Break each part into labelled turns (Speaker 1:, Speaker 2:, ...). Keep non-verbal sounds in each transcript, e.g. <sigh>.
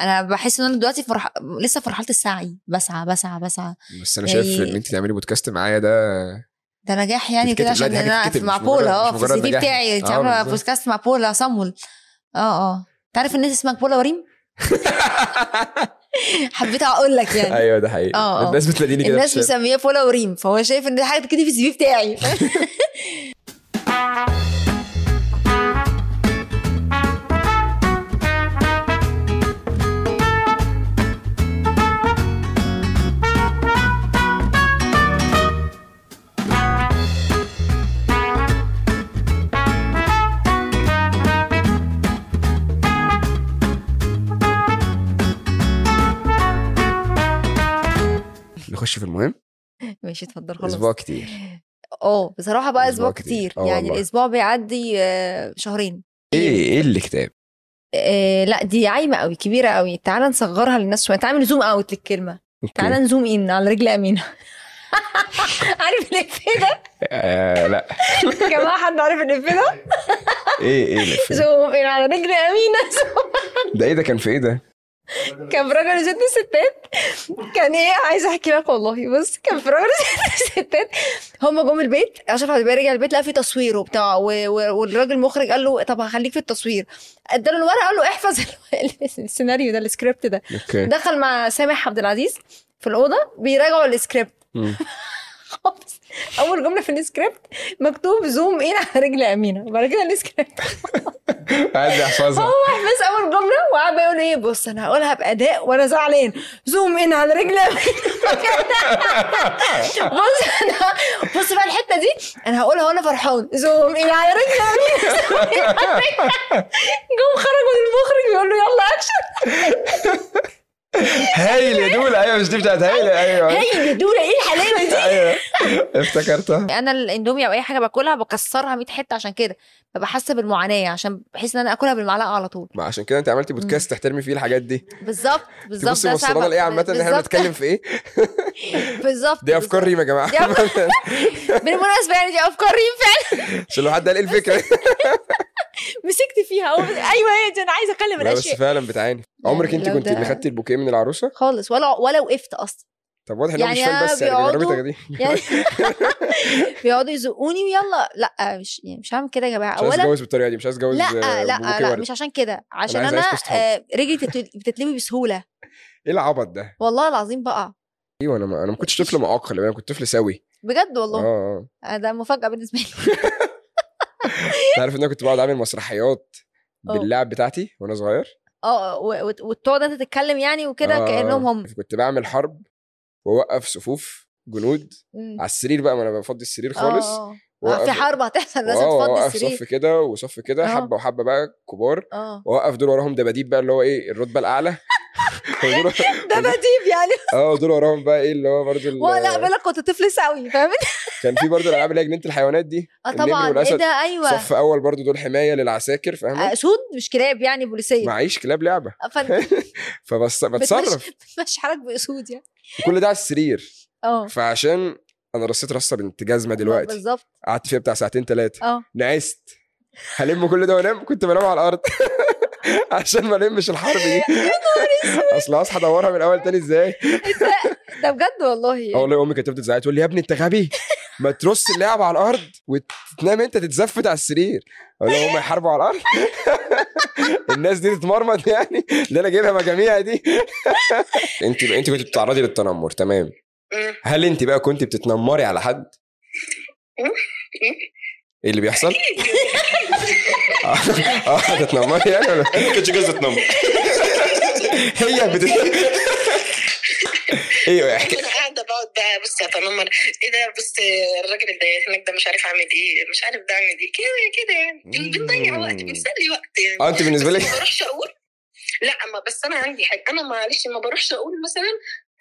Speaker 1: انا بحس ان انا دلوقتي في مرح... لسه في مرحله السعي بسعى بسعى بسعى
Speaker 2: بس انا شايف
Speaker 1: يعني-
Speaker 2: ان انت تعملي بودكاست معايا ده
Speaker 1: ده نجاح يعني
Speaker 2: تتكتب.
Speaker 1: كده
Speaker 2: لا،
Speaker 1: عشان
Speaker 2: دي حاجة
Speaker 1: انا
Speaker 2: تتكتب،
Speaker 1: في مع
Speaker 2: مش مجرد-
Speaker 1: بولا اه
Speaker 2: مش
Speaker 1: في
Speaker 2: مجرد
Speaker 1: السي في
Speaker 2: نجاح.
Speaker 1: بتاعي انت
Speaker 2: آه،
Speaker 1: عامله
Speaker 2: بالظبط.
Speaker 1: بودكاست مع بولا صمول اه اه تعرف الناس اسمك بولا وريم <laughs> حبيت اقول لك <laughs> يعني
Speaker 2: ايوه ده حقيقي
Speaker 1: اه، اه.
Speaker 2: الناس بتلاقيني كده
Speaker 1: الناس
Speaker 2: في الشارع.
Speaker 1: مسميه فولا وريم فهو شايف ان دي حاجه كده في السي في بتاعي <laughs>
Speaker 2: نخش في المهم
Speaker 1: ماشي اتفضل خلاص
Speaker 2: اسبوع كتير
Speaker 1: اه بصراحه بقى
Speaker 2: أسبوع
Speaker 1: اسبوع
Speaker 2: كتير.
Speaker 1: كتير
Speaker 2: آه
Speaker 1: يعني
Speaker 2: والله.
Speaker 1: الاسبوع بيعدي آه، شهرين
Speaker 2: ايه ايه الكتاب
Speaker 1: آه، لا دي عايمه قوي كبيره قوي تعالى نصغرها للناس شويه تعالى نزوم اوت للكلمه تعالى نزوم ان على رجل امينه عارف الافيه ده
Speaker 2: آه لا
Speaker 1: يا جماعه حد عارف الافيه ده
Speaker 2: ايه ايه
Speaker 1: <laughs>
Speaker 2: الفيلم؟
Speaker 1: زوم ان على رجل امينه
Speaker 2: ده ايه ده كان في ايه ده
Speaker 1: كان في راجل وست ستات كان ايه عايزه احكي لك والله بص كان في <laughs> راجل وست ستات هم جم البيت اشرف عبد الباقي رجع البيت لقى في تصوير وبتاع و- و- والراجل المخرج قال له طب هخليك في التصوير اداله الورقه قال له احفظ ال- السيناريو ده السكريبت ده
Speaker 2: اوكي
Speaker 1: دخل مع سامح عبد العزيز في الاوضه بيراجعوا السكريبت <laughs>
Speaker 2: مم.
Speaker 1: خالص اول جمله في السكريبت مكتوب زوم ايه على رجل امينه وبعد كده السكريبت
Speaker 2: قاعد يحفظها
Speaker 1: هو بس اول جمله وقعد بقى يقول ايه بص انا هقولها باداء وانا زعلان زوم ان على رجلي
Speaker 2: <laughs>
Speaker 1: بص انا بص بقى الحته دي انا هقولها وانا فرحان زوم ان على رجلي جم خرجوا من المخرج بيقول له يلا اكشن
Speaker 2: هايل يا دولة ايوه مش دي بتاعت هايل ايوه
Speaker 1: هي يا دوله ايه الحلاوه دي
Speaker 2: ايوه افتكرتها
Speaker 1: انا الاندومي او اي حاجه باكلها بكسرها 100 حته عشان كده ببقى حاسه بالمعاناه عشان بحس ان انا اكلها بالمعلقه على طول
Speaker 2: ما عشان كده انت عملتي بودكاست تحترمي فيه الحاجات دي
Speaker 1: بالظبط بالظبط
Speaker 2: تبصي وصلنا لايه عامه ان احنا بنتكلم في ايه
Speaker 1: بالظبط
Speaker 2: دي افكار ريم يا جماعه
Speaker 1: دي أفكار-
Speaker 2: <laughs>
Speaker 1: بالمناسبه يعني دي افكار ريم <laughs>
Speaker 2: عشان لو حد قال ايه الفكره
Speaker 1: مسكت فيها أو... ايوه هي دي انا عايزه اكلم
Speaker 2: لا بس
Speaker 1: الاشياء
Speaker 2: فعلا بتعاني عمرك انت
Speaker 1: يعني لو
Speaker 2: كنت
Speaker 1: ده-
Speaker 2: اللي خدتي البوكيه من العروسه
Speaker 1: خالص ولا ولا وقفت اصلا
Speaker 2: طب واضح ان هو مش
Speaker 1: يعني
Speaker 2: فاهم
Speaker 1: أنا
Speaker 2: بس يعني جربي
Speaker 1: بيقعدوا-
Speaker 2: تاخديه <laughs>
Speaker 1: يعني <laughs> بيقعدوا يزقوني ويلا لا مش يعني مش هعمل كده يا جماعه
Speaker 2: مش عايز
Speaker 1: اولا
Speaker 2: اتجوز بالطريقه دي مش عايز اتجوز آه،
Speaker 1: لا
Speaker 2: ببوكيه
Speaker 1: لا لا
Speaker 2: ورد.
Speaker 1: مش عشان كده عشان
Speaker 2: عايز
Speaker 1: انا
Speaker 2: أعيش قصة
Speaker 1: آه، رجلي بتت- بتتلوي بسهوله
Speaker 2: ايه العبط ده
Speaker 1: والله العظيم بقى
Speaker 2: ايوه انا ما انا ما كنتش طفل معاق خلي بالك أنا كنت طفل سوي
Speaker 1: بجد
Speaker 2: اه
Speaker 1: والله
Speaker 2: اه
Speaker 1: آه، ده مفاجاه بالنسبه لي <laughs>
Speaker 2: انت عارف ان انا كنت بقعد اعمل مسرحيات
Speaker 1: آه.
Speaker 2: باللعب بتاعتي وانا صغير
Speaker 1: اه و- وت- وتقعد انت تتكلم يعني وكده
Speaker 2: آه، آه.
Speaker 1: كانهم هم
Speaker 2: كنت بعمل حرب واوقف صفوف جنود
Speaker 1: مم.
Speaker 2: على السرير بقى ما انا بفضي السرير
Speaker 1: آه،
Speaker 2: خالص
Speaker 1: آه. آه،
Speaker 2: وأوقف-
Speaker 1: في حرب هتحصل لازم
Speaker 2: وأوقف-
Speaker 1: تفضي
Speaker 2: وأوقف
Speaker 1: السرير
Speaker 2: صف كده وصف كده
Speaker 1: آه.
Speaker 2: حبه وحبه بقى كبار
Speaker 1: اه
Speaker 2: واوقف دول وراهم دباديب بقى اللي هو ايه الرتبه <laughs> الاعلى ودول
Speaker 1: ده بديب يعني
Speaker 2: اه دول وراهم بقى ايه اللي هو برضه ال-
Speaker 1: ولا بالك كنت طفل سوي فاهم
Speaker 2: كان في برضه الالعاب اللي هي جنينه الحيوانات دي
Speaker 1: اه
Speaker 2: النمر
Speaker 1: طبعا ايه
Speaker 2: والأسد.
Speaker 1: ده ايوه
Speaker 2: صف اول برضه دول حمايه للعساكر فاهمه
Speaker 1: آه، سود مش كلاب يعني بوليسيه
Speaker 2: معيش كلاب لعبه
Speaker 1: فانت
Speaker 2: <laughs> فبس بتصرف
Speaker 1: <laughs> بتمشي حالك باسود يعني
Speaker 2: وكل ده على السرير
Speaker 1: اه
Speaker 2: فعشان انا رصيت رصه بنت جزمه دلوقتي
Speaker 1: أه، بالظبط
Speaker 2: قعدت فيها بتاع ساعتين ثلاثه
Speaker 1: اه
Speaker 2: نعست هلم كل ده وانام كنت بنام على الارض <laughs> عشان ما لمش الحرب
Speaker 1: <laughs>
Speaker 2: دي اصل هصحى ادورها من الاول تاني ازاي
Speaker 1: ده بجد والله
Speaker 2: اه
Speaker 1: يعني.
Speaker 2: والله امي كانت تفضل تزعق تقول لي يا ابني انت غبي ما ترص اللعب على الارض وتنام انت تتزفت على السرير اقول لهم هم يحاربوا على الارض <laughs> الناس دي تتمرمط يعني اللي انا جايبها مجاميع دي <laughs> انت انت كنت بتتعرضي للتنمر تمام
Speaker 3: مم.
Speaker 2: هل انت بقى كنت بتتنمري على حد ايه اللي بيحصل؟ اه <laughs> آه، تتنمري يعني ولا
Speaker 3: ما كانتش جايزه تنمر
Speaker 2: <laughs> هي بتت... ايوه
Speaker 3: <laughs>
Speaker 2: احكي
Speaker 3: انا قاعده بقعد بقى بص اتنمر ايه ده بص الراجل اللي هناك ده مش عارف اعمل ايه مش عارف ده اعمل ايه كده كده يعني
Speaker 2: مم.
Speaker 3: بنضيع وقت بنسلي وقت يعني
Speaker 2: اه انت بالنسبه
Speaker 3: <laughs> بس
Speaker 2: لك
Speaker 3: ما بروحش اقول لا ما بس انا عندي حاجه انا معلش ما بروحش اقول مثلا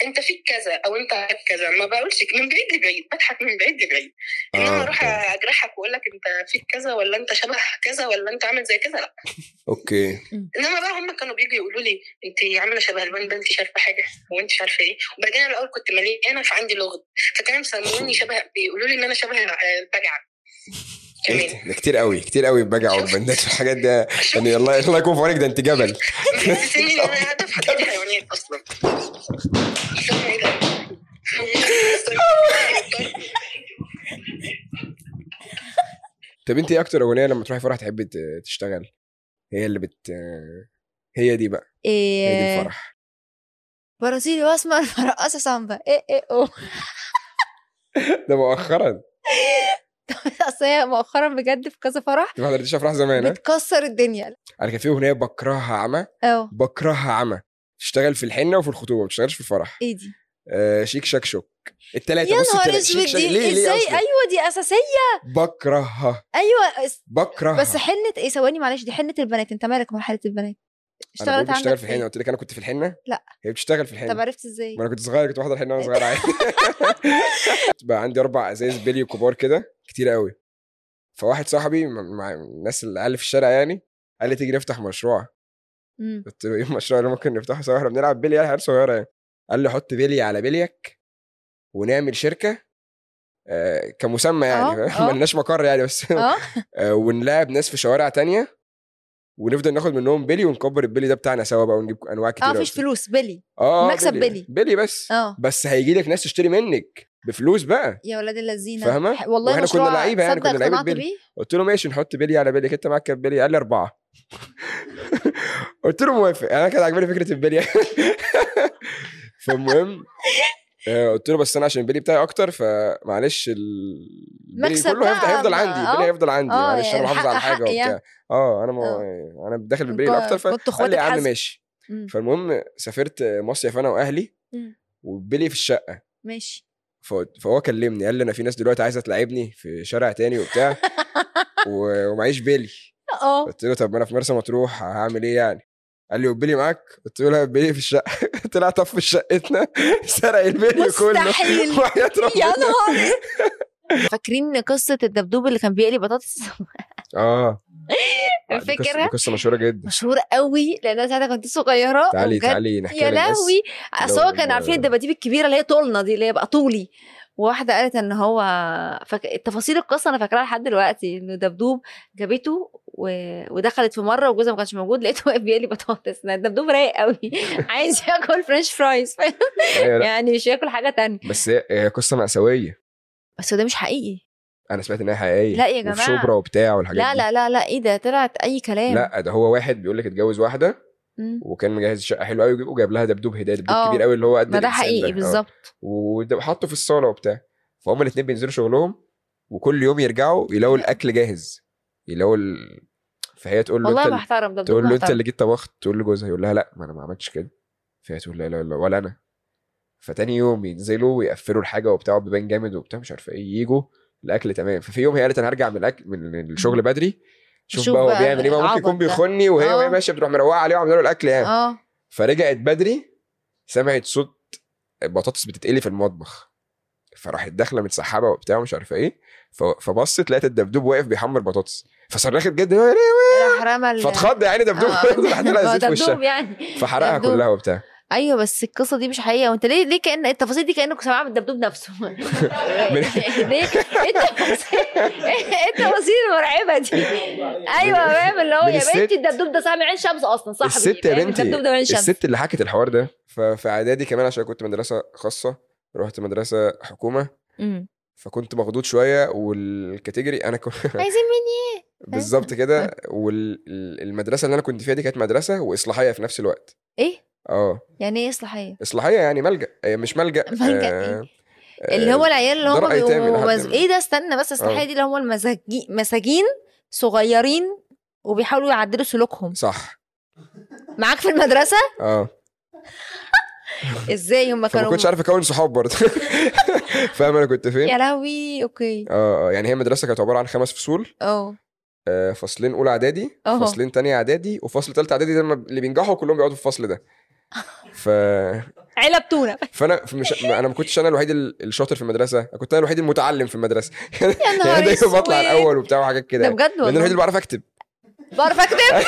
Speaker 3: انت فيك كذا او انت عارف كذا ما بقولش من بعيد لبعيد بضحك من بعيد لبعيد انما
Speaker 2: آه،
Speaker 3: اروح
Speaker 2: أوكي.
Speaker 3: اجرحك واقول لك انت فيك كذا ولا انت شبه كذا ولا انت عامل زي كذا لا
Speaker 2: اوكي
Speaker 3: انما بقى هم كانوا بيجوا يقولوا لي انت عامله شبه الوان ده انت شايفه حاجه وانت مش عارفه ايه وبعدين انا الاول كنت مليانه فعندي لغط فكانوا مسموني شبه بيقولوا لي ان انا شبه البجعه آه، كمان
Speaker 2: ده كتير قوي كتير قوي بجع والبندات والحاجات ده يعني الله الله يكون في عونك ده انت جبل
Speaker 3: محسسني ان انا قاعده في حديقه حيوانات اصلا فاهمة إيه ده؟ <laughs> طيب.
Speaker 2: طب انت ايه اكتر اغنيه لما تروحي فرح تحبي ت- تشتغل هي اللي بت هي دي بقى هي دي
Speaker 1: ايه
Speaker 2: الفرح <laughs>
Speaker 1: برازيلي واسمر فرقصه سامبا ايه ايه <laughs> اوه
Speaker 2: ده مؤخرا
Speaker 1: اصل هي مؤخرا بجد في كذا فرح
Speaker 2: انت ما حضرتيش افراح زمان ها؟
Speaker 1: بتكسر الدنيا
Speaker 2: انا كان في اغنيه بكرهها عمى
Speaker 1: اه
Speaker 2: بكرهها عمى تشتغل في الحنه وفي الخطوبه ما بتشتغلش في الفرح
Speaker 1: ايه دي
Speaker 2: آه شيك شاك شوك التلاتة
Speaker 1: يا
Speaker 2: بص
Speaker 1: نهار
Speaker 2: التلاتة
Speaker 1: اسود
Speaker 2: شيك شاك
Speaker 1: دي
Speaker 2: ليه ليه
Speaker 1: ازاي
Speaker 2: أصلاً؟
Speaker 1: ايوه دي اساسيه
Speaker 2: بكرهها
Speaker 1: ايوه اس-
Speaker 2: بكرهها
Speaker 1: بس حنه ايه ثواني معلش دي حنه البنات انت مالك مال حنه البنات
Speaker 2: انا
Speaker 1: اشتغلت
Speaker 2: بقول بشتغل
Speaker 1: عندك
Speaker 2: في الحنه
Speaker 1: فين؟
Speaker 2: قلت لك انا كنت في الحنه
Speaker 1: لا.
Speaker 2: هي بتشتغل في الحنه
Speaker 1: طب عرفت ازاي
Speaker 2: ما انا كنت صغير كنت واحده الحنه وانا صغير عادي <laughs> بقى عندي اربع ازايز بلي كبار كده كتير قوي فواحد صاحبي مع- مع الناس اللي قال في الشارع يعني قال لي تيجي نفتح مشروع <laughs>
Speaker 1: مم.
Speaker 2: قلت له ايه المشروع اللي ممكن نفتحه سوا احنا بنلعب بلي يعني حاجات صغيره يعني قال لي حط بلي على بليك ونعمل شركه آه
Speaker 1: آه،
Speaker 2: كمسمى يعني <laughs>
Speaker 1: آه.
Speaker 2: ملناش مقر يعني بس
Speaker 1: اه
Speaker 2: <laughs> آه، ونلاعب ناس في شوارع تانية ونفضل ناخد منهم بلي ونكبر البلي ده بتاعنا سوا بقى ونجيب انواع كتير
Speaker 1: اه مفيش فلوس بلي
Speaker 2: اه آه،
Speaker 1: مكسب
Speaker 2: بلي بلي بس
Speaker 1: اه
Speaker 2: بس هيجي لك ناس تشتري منك بفلوس بقى
Speaker 1: يا ولاد اللذينه
Speaker 2: فاهمة؟
Speaker 1: ح- والله
Speaker 2: وإحنا كنا
Speaker 1: مشروع
Speaker 2: لعيبة يعني،
Speaker 1: صدق
Speaker 2: كنا لعيبة
Speaker 1: اقتنعت
Speaker 2: بلي.
Speaker 1: بيه؟
Speaker 2: قلت له ماشي نحط بلي على بلي كده معاك كام بلي قال لي اربعه <laughs> قلت له موافق انا كان عاجباني فكره البلي <laughs> فالمهم آه، قلت له بس انا عشان البلي بتاعي اكتر فمعلش البلي
Speaker 1: مكسب
Speaker 2: كله هيفضل
Speaker 1: بقى،
Speaker 2: هيفضل
Speaker 1: ما-
Speaker 2: عندي
Speaker 1: آه.
Speaker 2: البلي هيفضل عندي
Speaker 1: آه،
Speaker 2: معلش انا
Speaker 1: يعني
Speaker 2: محافظ على
Speaker 1: حق-
Speaker 2: حاجه
Speaker 1: حق يعني. آه.
Speaker 2: وبتاع اه انا ما انا داخل بالبلي
Speaker 1: كنت-
Speaker 2: اكتر ف
Speaker 1: كنت
Speaker 2: قال
Speaker 1: اخواتك
Speaker 2: لي يا عم
Speaker 1: حزب.
Speaker 2: ماشي
Speaker 1: مم.
Speaker 2: فالمهم سافرت مصيف انا واهلي
Speaker 1: مم.
Speaker 2: والبلي في الشقه
Speaker 1: ماشي
Speaker 2: فقلت- فهو كلمني قال لي انا في ناس دلوقتي عايزه تلاعبني في شارع
Speaker 1: <laughs>
Speaker 2: تاني وبتاع و- ومعيش بيلي <laughs>
Speaker 1: اه
Speaker 2: قلت له طب ما انا في مرسى مطروح هعمل ايه يعني قال لي والبيلي معاك قلت له لا البيلي في <laughs> الشقه طلع طف في شقتنا <laughs> سرق البيلي كله <laughs>
Speaker 1: مستحيل.
Speaker 2: وحياة
Speaker 1: يا
Speaker 2: ربنا.
Speaker 1: نهار فاكرين قصه الدبدوب اللي كان بيقلي بطاطس <laughs>
Speaker 2: اه دي قصة-
Speaker 1: فاكرها
Speaker 2: دي قصه مشهوره جدا
Speaker 1: مشهوره قوي لان انا ساعتها كنت صغيره <laughs>
Speaker 2: تعالي
Speaker 1: وبجد
Speaker 2: تعالي نحكي
Speaker 1: يا لهوي اصل هو
Speaker 2: لو-
Speaker 1: كان عارفين الدباديب الكبيره اللي هي طولنا دي اللي هي بقى طولي وواحده قالت ان هو فك... تفاصيل القصه انا فاكراها لحد دلوقتي انه دبدوب جابته و... ودخلت في مره وجوزها ما كانش موجود لقيته واقف بيقلي <laughs> بطاطس ده الدبدوب رايق
Speaker 2: <laughs>
Speaker 1: قوي عايز ياكل فرنش فرايز فاهم؟ <laughs>
Speaker 2: أيوة لا.
Speaker 1: يعني مش ياكل حاجه تانية
Speaker 2: بس هي- هي قصه مأساويه
Speaker 1: بس ده مش حقيقي
Speaker 2: انا سمعت انها حقيقيه
Speaker 1: لا يا
Speaker 2: وفي
Speaker 1: جماعة.
Speaker 2: شبرا وبتاع والحاجات
Speaker 1: لا
Speaker 2: دي.
Speaker 1: لا لا لا ايه ده طلعت اي كلام
Speaker 2: لا ده هو واحد بيقول لك اتجوز واحده
Speaker 1: مم.
Speaker 2: وكان مجهز شقه حلوه قوي وجاب لها دبدوب هديه دبدوب
Speaker 1: آه.
Speaker 2: كبير قوي اللي هو قد
Speaker 1: ما ده
Speaker 2: الإنسان
Speaker 1: حقيقي
Speaker 2: آه.
Speaker 1: بالظبط
Speaker 2: وحطه في الصاله وبتاع فهم الاثنين بينزلوا شغلهم وكل يوم يرجعوا يلاقوا الاكل جاهز يلاقوا ال... فهي تقول له
Speaker 1: والله
Speaker 2: انت
Speaker 1: محترم دبدوب
Speaker 2: تقول له انت
Speaker 1: محترم.
Speaker 2: اللي جيت طبخت تقول لجوزها يقول لها لا ما انا ما عملتش كده فهي تقول لا لا لا ولا انا فتاني يوم ينزلوا ويقفلوا الحاجه وبتاع بيبان جامد وبتاع مش عارفه ايه يجوا الاكل تمام ففي يوم هي قالت انا هرجع من الاكل من الشغل بدري شوف,
Speaker 1: شوف
Speaker 2: بقى هو
Speaker 1: بقى
Speaker 2: بيعمل ايه بقى، ممكن
Speaker 1: العبط
Speaker 2: يكون
Speaker 1: ده.
Speaker 2: بيخني وهي وهي
Speaker 1: آه.
Speaker 2: ماشيه بتروح مروقه عليه وعامله له الاكل يعني
Speaker 1: اه
Speaker 2: فرجعت بدري سمعت صوت بطاطس بتتقلي في المطبخ فراحت داخله متسحبه وبتاع ومش عارفه ايه ف- فبصت لقيت الدبدوب واقف بيحمر بطاطس فصرخت جدا يا ريم.
Speaker 1: إيه، راح رمى ال-
Speaker 2: فاتخض يعني <laughs> دبدوب
Speaker 1: آه،
Speaker 2: راح طلع
Speaker 1: ما هو
Speaker 2: الزيت في
Speaker 1: دبدوب
Speaker 2: وشها
Speaker 1: يعني
Speaker 2: فحرقها
Speaker 1: دبدوب.
Speaker 2: كلها وبتاع
Speaker 1: ايوه بس القصه دي مش حقيقه وانت ليه ليه كان التفاصيل دي كانك سامعها من الدبدوب نفسه <laughs> ليه ايه التفاصيل ايه التفاصيل المرعبه دي ايوه فاهم اللي هو
Speaker 2: من
Speaker 1: يا
Speaker 2: الست-
Speaker 1: بنتي الدبدوب ده سامع عين شمس اصلا صاحبي
Speaker 2: الست يا
Speaker 1: فاهم؟
Speaker 2: بنتي،
Speaker 1: الدبدوب ده من عين شمس
Speaker 2: الست اللي حكت الحوار ده ففي اعدادي كمان عشان كنت مدرسه خاصه رحت مدرسه حكومه
Speaker 1: مم.
Speaker 2: فكنت مخضوض شويه والكاتيجوري انا كنت <laughs>
Speaker 1: عايزين مني
Speaker 2: بالظبط
Speaker 1: <laughs>
Speaker 2: كده والمدرسه اللي انا كنت فيها دي كانت مدرسه واصلاحيه في نفس الوقت
Speaker 1: ايه
Speaker 2: اه
Speaker 1: يعني ايه اصلاحيه
Speaker 2: اصلاحيه يعني ملجا آه، مش ملجا
Speaker 1: <laughs> ملجأ إيه؟
Speaker 2: آه، آه،
Speaker 1: اللي هو العيال اللي هم
Speaker 2: دار أيتام إلى
Speaker 1: بيبقوا
Speaker 2: حد
Speaker 1: مز-
Speaker 2: ما.
Speaker 1: ايه ده استنى بس الاصلاحيه
Speaker 2: آه.
Speaker 1: دي اللي هم المساجين مساجين صغيرين وبيحاولوا يعدلوا سلوكهم
Speaker 2: صح
Speaker 1: معاك في المدرسه
Speaker 2: اه
Speaker 1: ازاي هم
Speaker 2: فما
Speaker 1: كانوا
Speaker 2: كنتش عارف اكون صحاب برضه <laughs> فاهم انا كنت فين
Speaker 1: يا لهوي اوكي
Speaker 2: اه آه، يعني هي المدرسه كانت عباره عن خمس فصول
Speaker 1: اه
Speaker 2: آه، فصلين اولى اعدادي
Speaker 1: أهو.
Speaker 2: فصلين تانية اعدادي وفصل تالتة اعدادي ده لما اللي بينجحوا كلهم بيقعدوا في
Speaker 1: <laughs>
Speaker 2: الفصل ده ف...
Speaker 1: علب تونه
Speaker 2: فانا مش... انا ما كنتش انا الوحيد ال- الشاطر في المدرسه انا كنت انا الوحيد المتعلم في المدرسه
Speaker 1: يا
Speaker 2: <laughs> يعني
Speaker 1: نهار
Speaker 2: دايما بطلع
Speaker 1: اسود
Speaker 2: الاول وبتاع وحاجات كده
Speaker 1: طيب. ده
Speaker 2: يعني.
Speaker 1: بجد
Speaker 2: لان
Speaker 1: والله
Speaker 2: الوحيد <laughs> اللي بعرف اكتب
Speaker 1: بعرف اكتب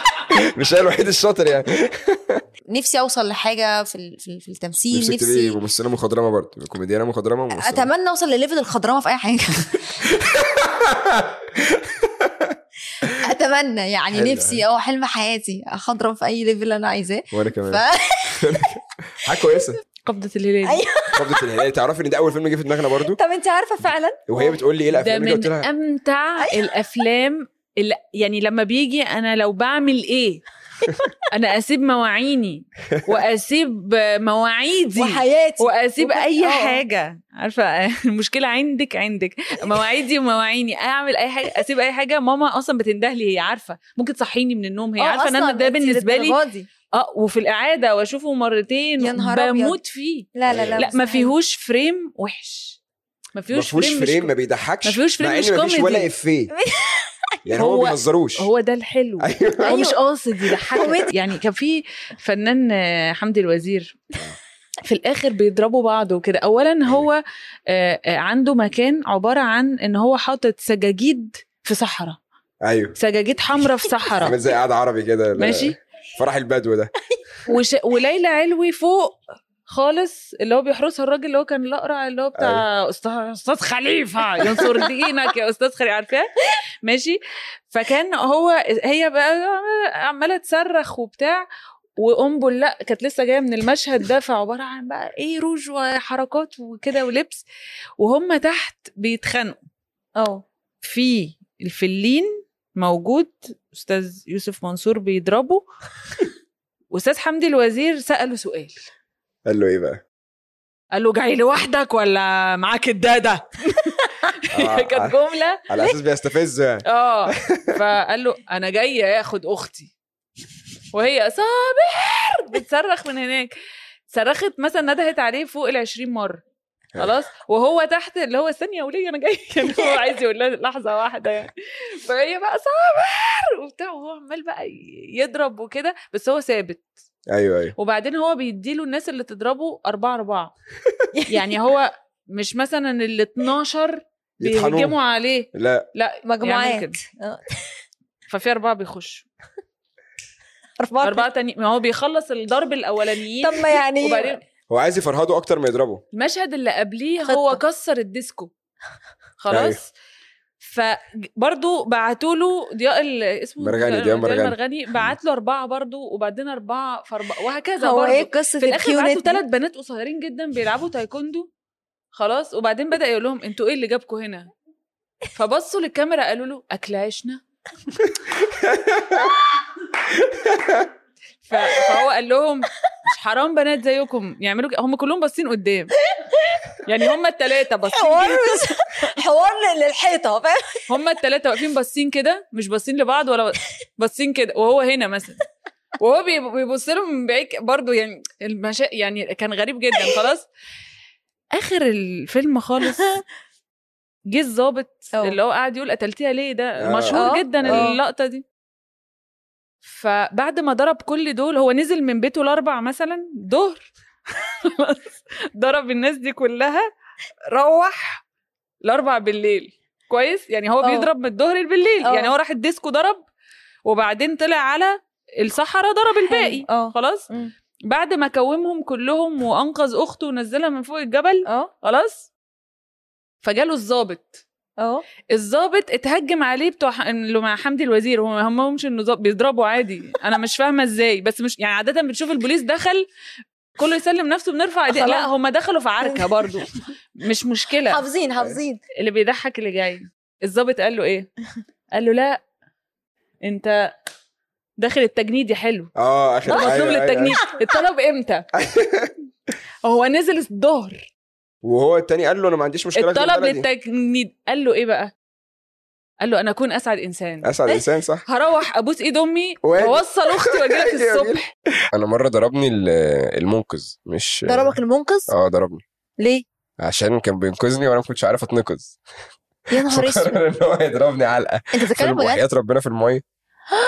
Speaker 1: <laughs>
Speaker 2: مش انا الوحيد الشاطر يعني
Speaker 4: نفسي اوصل لحاجه في ال- في ال- في التمثيل
Speaker 2: نفسك تبقي
Speaker 4: نفسي
Speaker 2: ممثله مخضرمه إيه؟ برضه كوميديانه مخضرمه وممثلة.
Speaker 4: اتمنى اوصل لليفل الخضرمه في اي
Speaker 2: <laughs>
Speaker 4: حاجه اتمنى يعني
Speaker 2: حلو،
Speaker 4: نفسي او حلم حياتي اخضرم في اي ليفل انا عايزاه
Speaker 2: وانا كمان
Speaker 4: ف... <laughs>
Speaker 2: حاجه كويسه
Speaker 5: قبضه الهلال
Speaker 4: أيوة.
Speaker 2: قبضه الهلال تعرفي ان ده اول فيلم جه في دماغنا برضه
Speaker 4: طب انت عارفه فعلا
Speaker 2: وهي بتقول لي ايه
Speaker 5: آه.
Speaker 2: الافلام
Speaker 5: ده
Speaker 2: اللي قلت
Speaker 5: من
Speaker 2: لها
Speaker 5: امتع
Speaker 4: أيوة.
Speaker 5: الافلام اللي يعني لما بيجي انا لو بعمل ايه انا اسيب مواعيني واسيب مواعيدي
Speaker 4: وحياتي
Speaker 5: واسيب
Speaker 4: وبعد-
Speaker 5: اي
Speaker 4: آه.
Speaker 5: حاجه <laughs> عارفه المشكله عندك عندك مواعيدي ومواعيني اعمل اي حاجه اسيب اي حاجه ماما اصلا بتنده لي هي عارفه ممكن تصحيني من النوم هي
Speaker 4: آه،
Speaker 5: عارفه ان
Speaker 4: أصلاً
Speaker 5: انا ده
Speaker 4: أنت
Speaker 5: بالنسبه لي
Speaker 4: للدرجة دي.
Speaker 5: اه وفي الاعاده واشوفه مرتين
Speaker 4: يا نهار أبيض.
Speaker 5: بموت فيه
Speaker 4: لا لا
Speaker 2: أيوة.
Speaker 4: لا
Speaker 5: لا ما
Speaker 4: مستحيل.
Speaker 5: فيهوش فريم وحش ما
Speaker 2: ما
Speaker 5: فيهوش
Speaker 2: فيهوش
Speaker 5: فريم, مش
Speaker 2: فريم ما بيضحكش
Speaker 5: ما فيهوش فريم
Speaker 2: مع
Speaker 5: مش
Speaker 2: ان ما فيش ولا
Speaker 5: كوميدي. <laughs>
Speaker 2: افيه يعني هو
Speaker 5: هو-
Speaker 2: ما بيهزروش <laughs>
Speaker 5: هو ده الحلو
Speaker 2: ايوه
Speaker 5: هو
Speaker 4: أيوة.
Speaker 5: مش قاصد يضحكك يعني كان في فنان آه، حمدي الوزير في الاخر بيضربوا بعض وكده اولا هو آه، آه، عنده مكان عباره عن ان هو حاطط سجاجيد في صحراء
Speaker 2: ايوه
Speaker 5: سجاجيد حمراء في
Speaker 2: <laughs> عامل
Speaker 5: صحراء
Speaker 2: زي قاعد عربي كده لا-
Speaker 5: ماشي
Speaker 2: فرح البدو ده
Speaker 5: وش... وليلى علوي فوق خالص اللي هو بيحرسها الراجل اللي هو كان الاقرع اللي هو بتاع استاذ استاذ خليفه ينصر دينك يا استاذ خليفه عارفاه ماشي فكان هو هي بقى عماله تصرخ وبتاع وامبل لا كانت لسه جايه من المشهد ده فعباره عن بقى ايه روج وحركات وكده ولبس وهم تحت بيتخانقوا
Speaker 4: اه
Speaker 5: في الفلين موجود استاذ يوسف منصور بيضربه <laughs> واستاذ حمدي الوزير ساله سؤال
Speaker 2: قال له ايه بقى؟
Speaker 5: قال له جاي لوحدك ولا معاك <laughs> الداده
Speaker 2: آه،
Speaker 5: كانت جمله
Speaker 2: على اساس بيستفزه يعني
Speaker 5: اه فقال له انا جايه اخد اختي وهي صابر بتصرخ من هناك صرخت مثلا ندهت عليه فوق ال 20 مره خلاص وهو تحت اللي هو استني يا وليه انا جاي <laughs> يعني هو عايز يقول لها لحظه واحده يعني فهي بقى صابر وبتاع وهو عمال بقى يضرب وكده بس هو ثابت
Speaker 2: ايوه ايوه
Speaker 5: وبعدين هو بيديله الناس اللي تضربه أربعة أربعة يعني هو مش مثلا ال 12
Speaker 2: يطحنوه
Speaker 5: بيهجموا عليه
Speaker 2: لا
Speaker 5: لا يعمل
Speaker 4: <laughs> مجموعات
Speaker 5: كده. ففي أربعة بيخشوا
Speaker 4: اربعه
Speaker 5: أربعة تانيين ما هو بيخلص الضرب الأولانيين
Speaker 4: طب ما يعني
Speaker 5: وبعدين
Speaker 2: هو عايز يفرهده اكتر ما يضربه
Speaker 5: المشهد اللي قبليه
Speaker 4: خطة.
Speaker 5: هو
Speaker 4: <laughs>
Speaker 5: كسر الديسكو خلاص فبرضه بعتوا له ضياء ال- اسمه
Speaker 2: مرغني،
Speaker 5: ضياء
Speaker 2: ضياء مرغني.
Speaker 5: مرغني بعت له اربعه برضه وبعدين اربعه فاربعه وهكذا
Speaker 4: هو
Speaker 5: برضه
Speaker 4: ايه قصه
Speaker 5: في الاخر بعتوا
Speaker 4: الكيونت
Speaker 5: ثلاث بنات قصيرين جدا بيلعبوا تايكوندو خلاص وبعدين بدا يقول لهم انتوا ايه اللي جابكم هنا فبصوا للكاميرا قالوا له اكل عيشنا ف- فهو قال لهم مش حرام بنات زيكم يعملوا كده هم كلهم باصين قدام يعني هم الثلاثه باصين
Speaker 4: حوار حوار للحيطه فاهم
Speaker 5: هم الثلاثه واقفين باصين كده مش باصين لبعض ولا باصين كده وهو هنا مثلا وهو بي- بيبص لهم من بعيد برضه يعني المشا... يعني كان غريب جدا خلاص اخر الفيلم خالص جه الظابط
Speaker 1: آه.
Speaker 4: أوه.
Speaker 5: اللي هو قاعد يقول قتلتيها ليه ده
Speaker 2: آه.
Speaker 5: مشهور
Speaker 4: آه.
Speaker 5: جدا
Speaker 4: آه.
Speaker 5: اللقطه دي فبعد ما ضرب كل دول هو نزل من بيته الاربع مثلا ظهر <laughs> خلاص. ضرب الناس دي كلها روح الاربع بالليل كويس يعني هو
Speaker 4: آه.
Speaker 5: بيضرب من الظهر بالليل
Speaker 4: آه.
Speaker 5: يعني هو راح الديسكو ضرب وبعدين طلع على الصحراء ضرب الباقي
Speaker 4: اه
Speaker 5: خلاص
Speaker 4: مم.
Speaker 5: بعد ما كومهم كلهم وانقذ اخته ونزلها من فوق الجبل
Speaker 4: اه
Speaker 5: خلاص فجاله الظابط
Speaker 4: اه
Speaker 5: الظابط اتهجم عليه بتوع ح- اللي مع حمدي الوزير هو ما همهمش انه ظابط، بيضربوا عادي انا مش فاهمه ازاي بس مش يعني عاده بتشوف البوليس دخل كله يسلم نفسه بنرفع ايدينا لا
Speaker 4: خلاص.
Speaker 5: هم دخلوا في عركه
Speaker 4: <laughs>
Speaker 5: برضو مش مشكله
Speaker 4: حافظين حافظين
Speaker 5: اللي بيضحك اللي جاي الظابط قال له <laughs> ايه قال له لا انت داخل التجنيد يا حلو
Speaker 2: اه اخر
Speaker 5: ده مطلوب للتجنيد
Speaker 2: <laughs>
Speaker 5: الطلب امتى هو نزل الظهر
Speaker 2: أيوه. وهو التاني قال له انا ما عنديش مشكله في
Speaker 5: الطلب
Speaker 2: البلدي.
Speaker 5: للتجنيد قال له ايه بقى قال له انا اكون اسعد انسان
Speaker 2: اسعد انسان
Speaker 5: <laughs>
Speaker 2: صح
Speaker 5: هروح ابوس ايد امي
Speaker 2: وأجي.
Speaker 5: واوصل اختي
Speaker 2: <laughs>
Speaker 5: واجيلك
Speaker 2: أجي
Speaker 5: الصبح
Speaker 2: انا مره ضربني ال- المنقذ مش
Speaker 1: ضربك المنقذ
Speaker 2: اه ضربني
Speaker 1: ليه؟
Speaker 2: عشان كان بينقذني وانا ما كنتش عارف اتنقذ
Speaker 1: يا نهار اسود
Speaker 2: فقرر ان هو يضربني علقه
Speaker 1: انت
Speaker 2: في
Speaker 1: بتتكلم بجد؟
Speaker 2: وحياه ربنا في الميه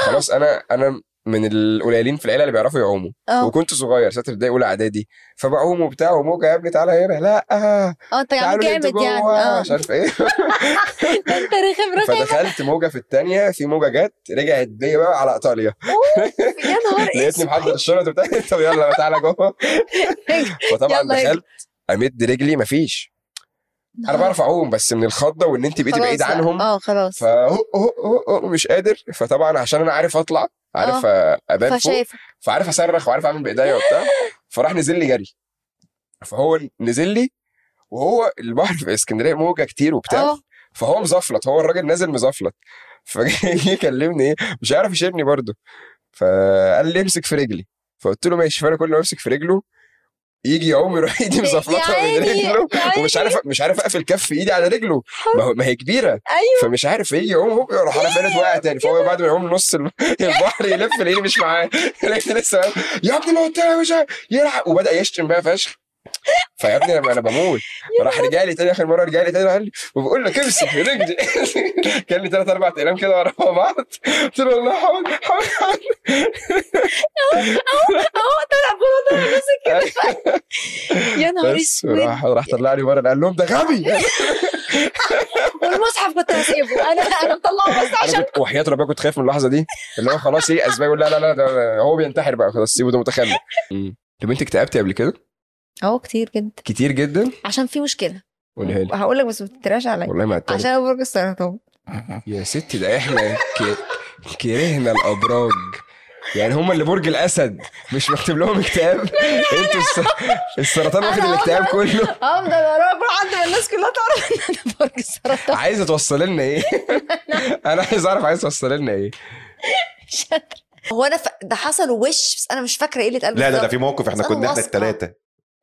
Speaker 2: خلاص انا انا من القليلين في العيله اللي بيعرفوا يعوموا
Speaker 4: اه
Speaker 2: وكنت صغير ساتردي اولى اعدادي فبعوم وبتاع وموجه يا ابني تعالى هنا لا آه،
Speaker 1: أه،
Speaker 4: اه انت يعني
Speaker 2: تعالوا لي انتوا
Speaker 4: جامد يعني
Speaker 2: جوه
Speaker 4: اه
Speaker 2: مش عارف ايه
Speaker 4: انت رخم رخم
Speaker 2: فدخلت موجه في الثانيه في موجه جت رجعت بيا بقى على ايطاليا
Speaker 4: يا نهار
Speaker 2: لقيتني محضر الشنط بتاعتي <laughs> طب يلا
Speaker 4: <laughs>
Speaker 2: تعالى جوه فطبعا
Speaker 4: يلا يا
Speaker 2: دخلت امد رجلي مفيش انا بعرف اعوم بس من الخضه وان انت بايدي
Speaker 4: خلاص
Speaker 2: بعيد
Speaker 4: بقى.
Speaker 2: عنهم
Speaker 1: أه،
Speaker 4: اه خلاص
Speaker 2: مش قادر فطبعا عشان انا عارف اطلع عارف ابان فوق
Speaker 4: آه. فشايف
Speaker 2: فعارف اصرخ وعارف اعمل بايديا وبتاع فراح نزل لي جري فهو نزل لي وهو البحر في اسكندريه موجه كتير
Speaker 1: أه.
Speaker 2: وبتاع
Speaker 4: اه
Speaker 2: فهو مزفلط هو الراجل نازل مزفلط فجه <laughs> يكلمني ايه مش عارف يشيلني برضه فقال لي امسك في رجلي فقلت له ماشي فانا كل ما امسك في رجله يجي يعوم يروح <laughs> ايدي مزفلطه من
Speaker 4: عيني، يا
Speaker 2: رجله
Speaker 4: عيني.
Speaker 2: ومش عارف مش عارف اقفل كف ايدي على رجله ما, هو- ما هي كبيره
Speaker 4: ايوه
Speaker 2: فمش عارف يجي يعوم هوب يروح على فينت وقع تاني فهو بعد ما يعوم نص الم- <laughs> البحر يلف الاقيه مش معاه الاقيه لسه قايم، يا ابني ما قلت لك مش عارف يلحق وبدا يشتم بقى فشخ فيا ابني انا أنا بموت راح رجع لي تاني اخر مره رجع لي تاني قال لي وبقول لك امسك في رجلي <laughs> كان لي ثلاث اربع ايام كده ورا بعض قلت له والله حاول حاول حاول
Speaker 4: اهو طلع بره طلع ماسك
Speaker 2: <laughs>
Speaker 4: يا نهار
Speaker 2: بس
Speaker 4: اسود
Speaker 2: راح راح طلع لي بره قال لهم ده غبي
Speaker 4: والمصحف كنت هسيبه انا انا مطلعه بس
Speaker 2: انا
Speaker 4: عشان
Speaker 2: كنت وحياه ربنا كنت خايف من اللحظه دي اللي هو خلاص ايه اسباب يقول لا لا لا ده هو بينتحر بقى خلاص سيبه ده متخلف طب انت اكتئبتي قبل كده
Speaker 1: اهو أه، كتير جدا
Speaker 2: كتير جدا
Speaker 1: عشان في مشكله
Speaker 2: قولها لي
Speaker 1: هقول لك بس ما تتراش عليا
Speaker 2: والله ما أتريق.
Speaker 1: عشان برج السرطان
Speaker 2: يا ستي ده احنا ك- كرهنا الابراج يعني هم اللي برج الاسد مش مكتوب لهم اكتئاب انتوا الس- السرطان واخد
Speaker 1: أنا
Speaker 2: الاكتئاب كله
Speaker 1: افضل وراك كل حد من الناس كلها تعرف ان انا برج السرطان
Speaker 2: عايزه توصل لنا
Speaker 1: <laughs>
Speaker 2: ايه انا عايز اعرف عايز توصل لنا ايه
Speaker 1: هو انا ف... ده حصل وش بس انا مش فاكره ايه اللي اتقال
Speaker 6: لا لا ده
Speaker 1: بالظبط.
Speaker 6: في موقف احنا
Speaker 1: بس أنا
Speaker 6: كنا احنا
Speaker 1: واثقة.
Speaker 6: الثلاثه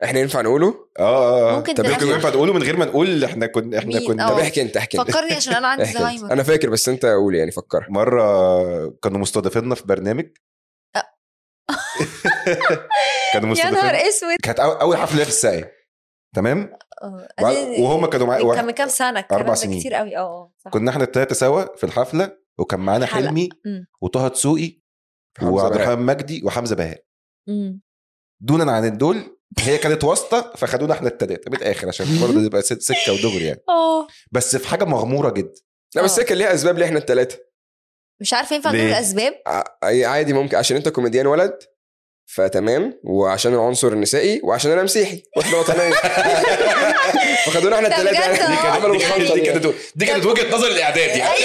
Speaker 2: احنا ينفع نقوله
Speaker 6: اه اه آه.
Speaker 1: ممكن
Speaker 6: طب يمكن
Speaker 1: تحكي.
Speaker 6: ينفع تقوله من غير ما نقول احنا كنا احنا
Speaker 1: مين؟
Speaker 6: كنا
Speaker 1: آه.
Speaker 2: طب احكي انت احكي انت
Speaker 1: فكرني عشان انا
Speaker 6: <laughs>
Speaker 1: عندي
Speaker 2: احكي انت.
Speaker 1: زهايمر
Speaker 2: انا فاكر بس انت قول يعني فكر
Speaker 6: مره كانوا مستضيفيننا في برنامج <laughs> كانوا
Speaker 1: يا نهار
Speaker 6: مستضيفين
Speaker 1: اسود
Speaker 6: كانت أو- اول حفله في الساقيه تمام
Speaker 4: آه،
Speaker 6: وبعد-
Speaker 4: أدي-
Speaker 6: وهم كانوا معايا
Speaker 4: كان من كام سنه الكلام
Speaker 6: أربع
Speaker 4: ده
Speaker 6: سنين.
Speaker 4: كتير قوي اه
Speaker 1: آه،
Speaker 4: اه صح
Speaker 6: كنا احنا الثلاثه سوا في الحفله وكان معانا
Speaker 4: حلقة.
Speaker 6: حلمي
Speaker 4: مم.
Speaker 6: وطه دسوقي
Speaker 2: حمزة
Speaker 6: وعبد
Speaker 2: بهاء.
Speaker 6: الرحمن مجدي وحمزه بهاء
Speaker 4: مم.
Speaker 6: دونا عن الدول هي كانت واسطه فخدونا احنا الثلاثه من الاخر عشان برضه تبقى س- سكه ودغري يعني
Speaker 1: آه.
Speaker 4: اه
Speaker 6: بس في حاجه مغموره جدا
Speaker 2: لا بس
Speaker 4: آه.
Speaker 2: هي كان ليها اسباب ليه احنا الثلاثه
Speaker 1: مش عارفه ينفع
Speaker 6: ليه؟
Speaker 1: نقول
Speaker 6: <laughs>
Speaker 1: الاسباب
Speaker 2: عادي ممكن عشان انت كوميديان ولد فتمام وعشان العنصر النسائي وعشان انا مسيحي واحنا وطنيين فخدونا احنا
Speaker 1: ده
Speaker 2: الثلاثه
Speaker 1: بجد
Speaker 2: يعني
Speaker 1: آه.
Speaker 2: عملوا
Speaker 6: دي كانت- دي
Speaker 2: مخطط
Speaker 6: كانت دي كانت وجهه نظر الاعداد
Speaker 1: أيوة.
Speaker 6: يعني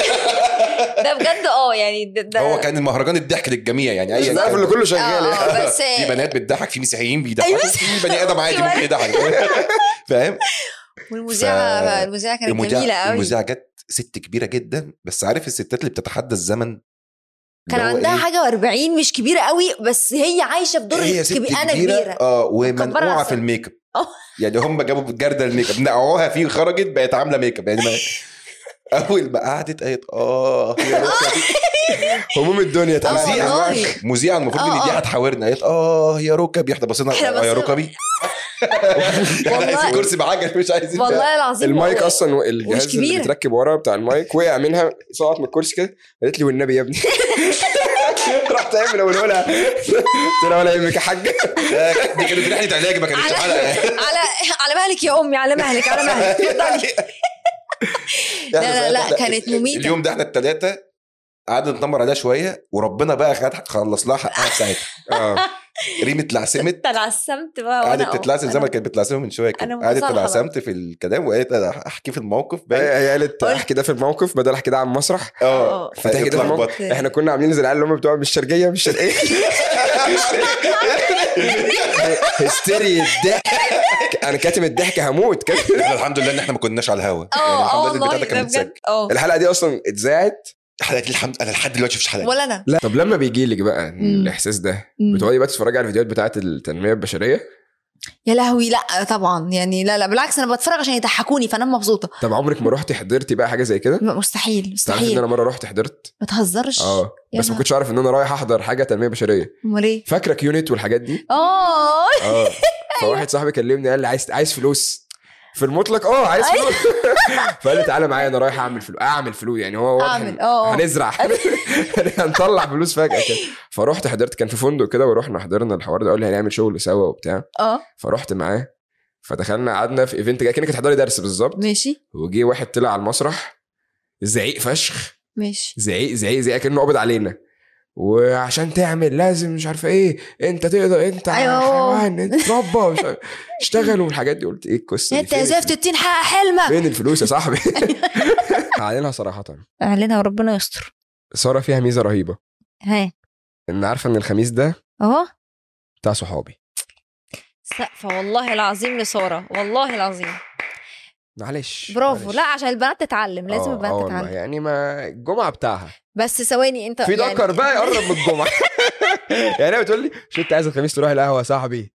Speaker 4: ده بجد
Speaker 1: آه،
Speaker 4: اه يعني ده, ده
Speaker 6: هو كان المهرجان الضحك للجميع يعني اي
Speaker 2: العارف اللي كله شغال يعني.
Speaker 1: اه بس أيوة،
Speaker 6: في بنات بتضحك في مسيحيين بيضحكوا في بني ادم عادي ممكن يضحك <laughs> فاهم
Speaker 1: والمذيعه
Speaker 6: ف-
Speaker 1: المذيعه كانت جميله
Speaker 6: المذيعة
Speaker 1: قوي
Speaker 6: المذيعة جت ست كبيرة جدا بس عارف الستات اللي بتتحدى الزمن
Speaker 1: كان
Speaker 6: اللي هو
Speaker 1: عندها
Speaker 6: إيه؟
Speaker 1: حاجه و40 مش كبيره قوي بس هي عايشه في دور
Speaker 6: هي ست
Speaker 1: كبير انا كبيره
Speaker 6: اه
Speaker 1: مكبرة
Speaker 6: ومنقوعة
Speaker 1: راسها.
Speaker 6: في الميك اب
Speaker 1: آه.
Speaker 6: يعني هم جابوا جردل الميك اب نقعوها فيه خرجت بقت عاملة ميك
Speaker 1: <laughs>
Speaker 6: اب يعني ما اول ما قعدت قالت اه يا
Speaker 1: <laughs>
Speaker 6: روكا دي-
Speaker 2: هموم الدنيا
Speaker 1: اه
Speaker 6: مذيعة.
Speaker 1: والله
Speaker 6: مذيعة المفروض
Speaker 1: آه،
Speaker 6: ان دي
Speaker 1: آه.
Speaker 6: هتحاورنا قالت اه يا ركبي احنا بصينا
Speaker 1: إحنا
Speaker 6: اه يا
Speaker 1: بصينا-
Speaker 6: ركبي
Speaker 1: <laughs>
Speaker 6: احنا عايزين
Speaker 1: والله-
Speaker 6: كرسي بعجل مش عايزين
Speaker 1: والله العظيم
Speaker 2: المايك
Speaker 1: هو-
Speaker 2: اصلا الجهاز اللي
Speaker 1: كبيرة.
Speaker 2: بيتركب ورا بتاع المايك وقع منها سقط من الكرسي كده قالت لي والنبي يا ابني رحت قايم اقول لها قلت لها ولا يهمك يا حاجه
Speaker 6: ده- دي كانت رحلة علاج ما كانتش
Speaker 1: على
Speaker 6: حلقة
Speaker 1: <laughs> على على مهلك يا امي على مهلك على مهلك
Speaker 6: <laughs>
Speaker 1: لا لا لا
Speaker 6: <laughs>
Speaker 1: كانت مميته
Speaker 6: يعني اليوم ده احنا التلاتة قعدنا نتنمر عليها شويه وربنا بقى خد خلص لها حقها في
Speaker 1: <laughs>
Speaker 6: ساعتها
Speaker 2: اه
Speaker 6: ريم اتلعسمت
Speaker 4: تلعسمت بقى وانا
Speaker 6: قعدت
Speaker 4: اه.
Speaker 6: تتلعسم زي
Speaker 4: أنا-
Speaker 6: ما كانت بتلعسم من شويه
Speaker 4: أنا
Speaker 6: كده
Speaker 4: متصالحة
Speaker 6: قعدت اتلعسمت في الكلام وقالت انا احكي في الموقف باين
Speaker 1: أيوة.
Speaker 2: هي هي قالت احكي ده في الموقف بدل احكي ده على المسرح
Speaker 6: اه
Speaker 2: فتحكي ده في الموقف.
Speaker 1: <laughs>
Speaker 6: اتلخبطت.
Speaker 2: احنا كنا عاملين زي العيال اللي هم بتوع مش شرقيه مش شرقيه هستيري الضحك انا كاتم الضحك هموت كاتم.
Speaker 6: احنا الحمد لله ان احنا ما كناش على الهوا يعني
Speaker 1: آه،
Speaker 4: اه اه
Speaker 6: الحمد لله
Speaker 4: والله
Speaker 6: البتاع ده
Speaker 4: ده
Speaker 6: كان متسجل
Speaker 4: بجد اه
Speaker 2: الحلقه دي اصلا اتذاعت
Speaker 6: حلقه الحمد انا لحد دلوقتي مش حلقه
Speaker 1: ولا انا
Speaker 2: لا طب لما بيجي لك بقى
Speaker 1: مم.
Speaker 2: الاحساس ده
Speaker 1: مم.
Speaker 2: بتقعدي بقى تتفرجي على الفيديوهات بتاعه التنميه البشريه
Speaker 1: يا لهوي لا طبعا يعني لا لا بالعكس انا بتفرج عشان يضحكوني فانا مبسوطه
Speaker 2: طب عمرك ما رحتي حضرتي بقى حاجه زي كده
Speaker 1: مستحيل
Speaker 2: تعرفي ان
Speaker 1: مستحيل
Speaker 2: انا مره رحت حضرت
Speaker 1: ما تهزرش
Speaker 6: آه.
Speaker 2: اه
Speaker 1: يا
Speaker 2: بس ما
Speaker 1: نهار.
Speaker 2: كنتش عارف ان انا رايح احضر حاجه تنميه بشريه
Speaker 1: امال ايه
Speaker 2: فاكره كيونت والحاجات دي
Speaker 1: اه
Speaker 6: آه،
Speaker 1: <laughs>
Speaker 2: آه. اه فواحد صاحبي كلمني قال لي عايز عايز فلوس في المطلق اه عايز
Speaker 1: أيوة.
Speaker 2: فلوس
Speaker 1: <laughs>
Speaker 2: فقال لي تعالى معايا انا رايح اعمل فلوس اعمل فلوس يعني هو واضح
Speaker 1: أعمل،
Speaker 2: إن
Speaker 1: آه، آه.
Speaker 2: هنزرع <laughs> هنطلع فلوس فجاه كده فروحت حضرت كان في فندق كده ورحنا حضرنا الحوار ده قال لي هنعمل شغل سوا وبتاع
Speaker 1: اه
Speaker 2: فرحت معاه فدخلنا قعدنا في ايفنت كده كانك هتحضري درس بالظبط
Speaker 1: ماشي
Speaker 2: وجي واحد طلع على المسرح زعيق فشخ
Speaker 1: ماشي
Speaker 2: زعيق زعيق زعيق كانه قابض علينا وعشان تعمل لازم مش عارفه ايه انت تقدر انت
Speaker 1: أيوه.
Speaker 2: حيوان انت
Speaker 1: <laughs>
Speaker 2: تربى مش عارف- اشتغل والحاجات دي قلت ايه القصه دي؟
Speaker 1: انت
Speaker 2: فين
Speaker 1: يا زفت أيوه. التين حقق حلمك
Speaker 2: فين الفلوس يا
Speaker 1: <laughs>
Speaker 2: صاحبي <laughs> علينا صراحه
Speaker 1: اعلنها وربنا يستر
Speaker 2: ساره فيها ميزه رهيبه
Speaker 1: ها
Speaker 2: ان عارفه ان الخميس ده
Speaker 1: اهو
Speaker 2: بتاع صحابي
Speaker 1: سقفه والله العظيم لساره والله العظيم
Speaker 2: معلش
Speaker 1: برافو
Speaker 2: معلش.
Speaker 1: لا عشان البنات تتعلم لازم
Speaker 2: آه، آه
Speaker 1: البنات
Speaker 2: والله،
Speaker 1: تتعلم
Speaker 2: يعني ما الجمعه بتاعها
Speaker 1: بس ثواني انت
Speaker 2: في
Speaker 1: يعني-
Speaker 2: دكر بقى يقرب
Speaker 1: <laughs>
Speaker 2: من الجمعه يعني هي بتقول لي شو انت عايز الخميس تروح القهوه يا صاحبي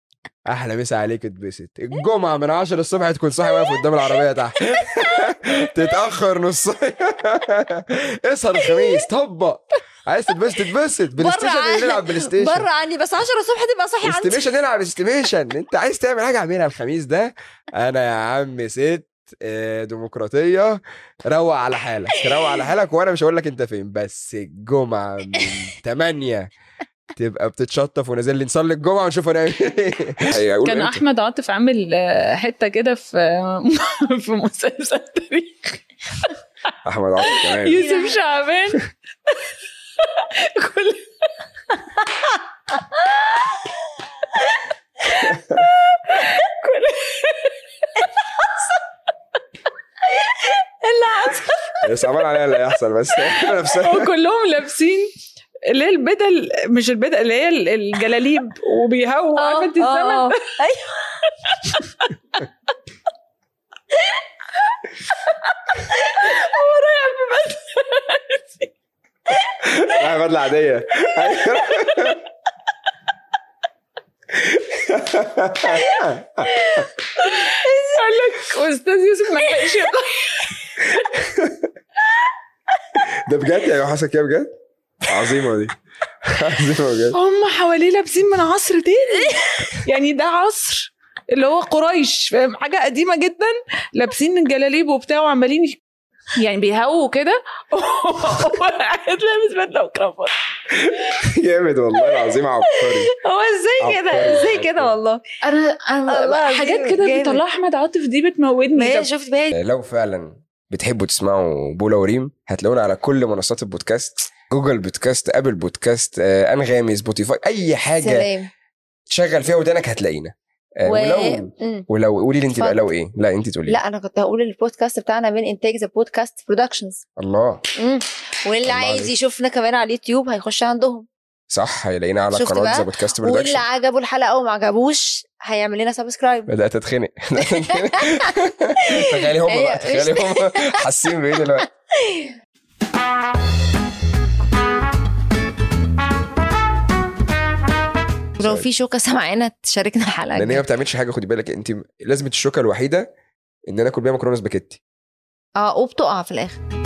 Speaker 2: احلى مسا عليك اتبسط الجمعه من 10 الصبح تكون صاحي واقف قدام العربيه تحت تتاخر نص <laughs> اسهر الخميس طبق عايز تتبسط تتبسط بلاي
Speaker 1: بره
Speaker 2: ستيشن
Speaker 1: عني-
Speaker 2: نلعب بلاي ستيشن
Speaker 1: بره عني بس 10 الصبح تبقى صاحي عندي
Speaker 2: استيميشن العب استيميشن انت عايز تعمل حاجه اعملها الخميس ده انا يا عم ست آه، ديمقراطيه روق على حالك روق على حالك وانا مش هقول لك انت فين بس
Speaker 1: <laughs>
Speaker 2: الجمعه من 8 تبقى بتتشطف ونازل لي نصلي الجمعه ونشوف هنعمل ايه
Speaker 5: كان احمد عاطف عامل آه، حته كده في <laughs> في مسلسل تاريخ
Speaker 2: احمد عاطف كمان
Speaker 5: يوسف
Speaker 2: <laughs>
Speaker 5: شعبان <laughs> كل
Speaker 2: بس عمال عليا اللي هيحصل بس نفسها
Speaker 5: وكلهم لابسين اللي هي البدل مش البدل اللي هي ال- الجلاليب
Speaker 1: آه،
Speaker 5: وبيهووا عارفه انت الزمن <laughs>
Speaker 1: اه
Speaker 2: لا بدله عاديه
Speaker 5: قال لك استاذ يوسف ما لحقش يطلع.
Speaker 2: ده بجد يعني حصل كده بجد عظيمه دي <laughs> عظيمه بجد
Speaker 5: هم حواليه لابسين من عصر تاني يعني ده عصر اللي هو قريش فاهم حاجه قديمه جدا لابسين الجلاليب وبتاع وعمالين ي- يعني بيهووا كده <laughs> وقاعد لابس بدله وكرافات
Speaker 2: جامد والله العظيم عبقري
Speaker 1: هو ازاي
Speaker 2: عبقري.
Speaker 1: كده ازاي كده والله
Speaker 5: انا
Speaker 1: الله
Speaker 5: انا
Speaker 1: عظيم،
Speaker 5: حاجات كده
Speaker 1: آه، جامد.
Speaker 5: بيطلعها احمد عاطف دي بتموتني
Speaker 1: ما هي
Speaker 5: طب
Speaker 1: شفت بقى
Speaker 2: لو فعلا بتحبوا تسمعوا بولا وريم هتلاقونا على كل منصات البودكاست جوجل بودكاست ابل بودكاست آه، انغامي سبوتيفاي اي حاجه
Speaker 1: سلام
Speaker 2: تشغل فيها ودانك هتلاقينا آه،
Speaker 1: و...
Speaker 2: ولو
Speaker 1: مم.
Speaker 2: ولو قولي لي انت بقى
Speaker 1: اتفضل.
Speaker 2: لو ايه لا انت تقولي
Speaker 1: لا انا كنت هقول البودكاست بتاعنا من انتاج ذا بودكاست برودكشنز
Speaker 2: الله
Speaker 1: واللي
Speaker 2: الله
Speaker 1: عايز
Speaker 2: عليك.
Speaker 1: يشوفنا كمان على اليوتيوب هيخش عندهم
Speaker 2: صح هيلاقينا على
Speaker 1: شفت
Speaker 2: قناه
Speaker 1: بقى؟
Speaker 2: ذا بودكاست
Speaker 1: واللي
Speaker 2: برودكشن
Speaker 1: عجبه الحلقه وما عجبوش هيعمل لنا سبسكرايب
Speaker 2: بدات <laughs> اتخنق
Speaker 1: <laughs>
Speaker 2: تخيلي هم
Speaker 1: هي
Speaker 2: بقى
Speaker 1: أيوة، مش-
Speaker 2: تخيلي هم حاسين بايه دلوقتي
Speaker 1: <laughs> ولو في شوكه سامعانا تشاركنا الحلقه
Speaker 2: لان هي ما
Speaker 1: الجاية.
Speaker 2: بتعملش حاجه خدي بالك انت لازمه الشوكه الوحيده ان انا اكل بيها مكرونه سباكيتي
Speaker 1: اه وبتقع في الاخر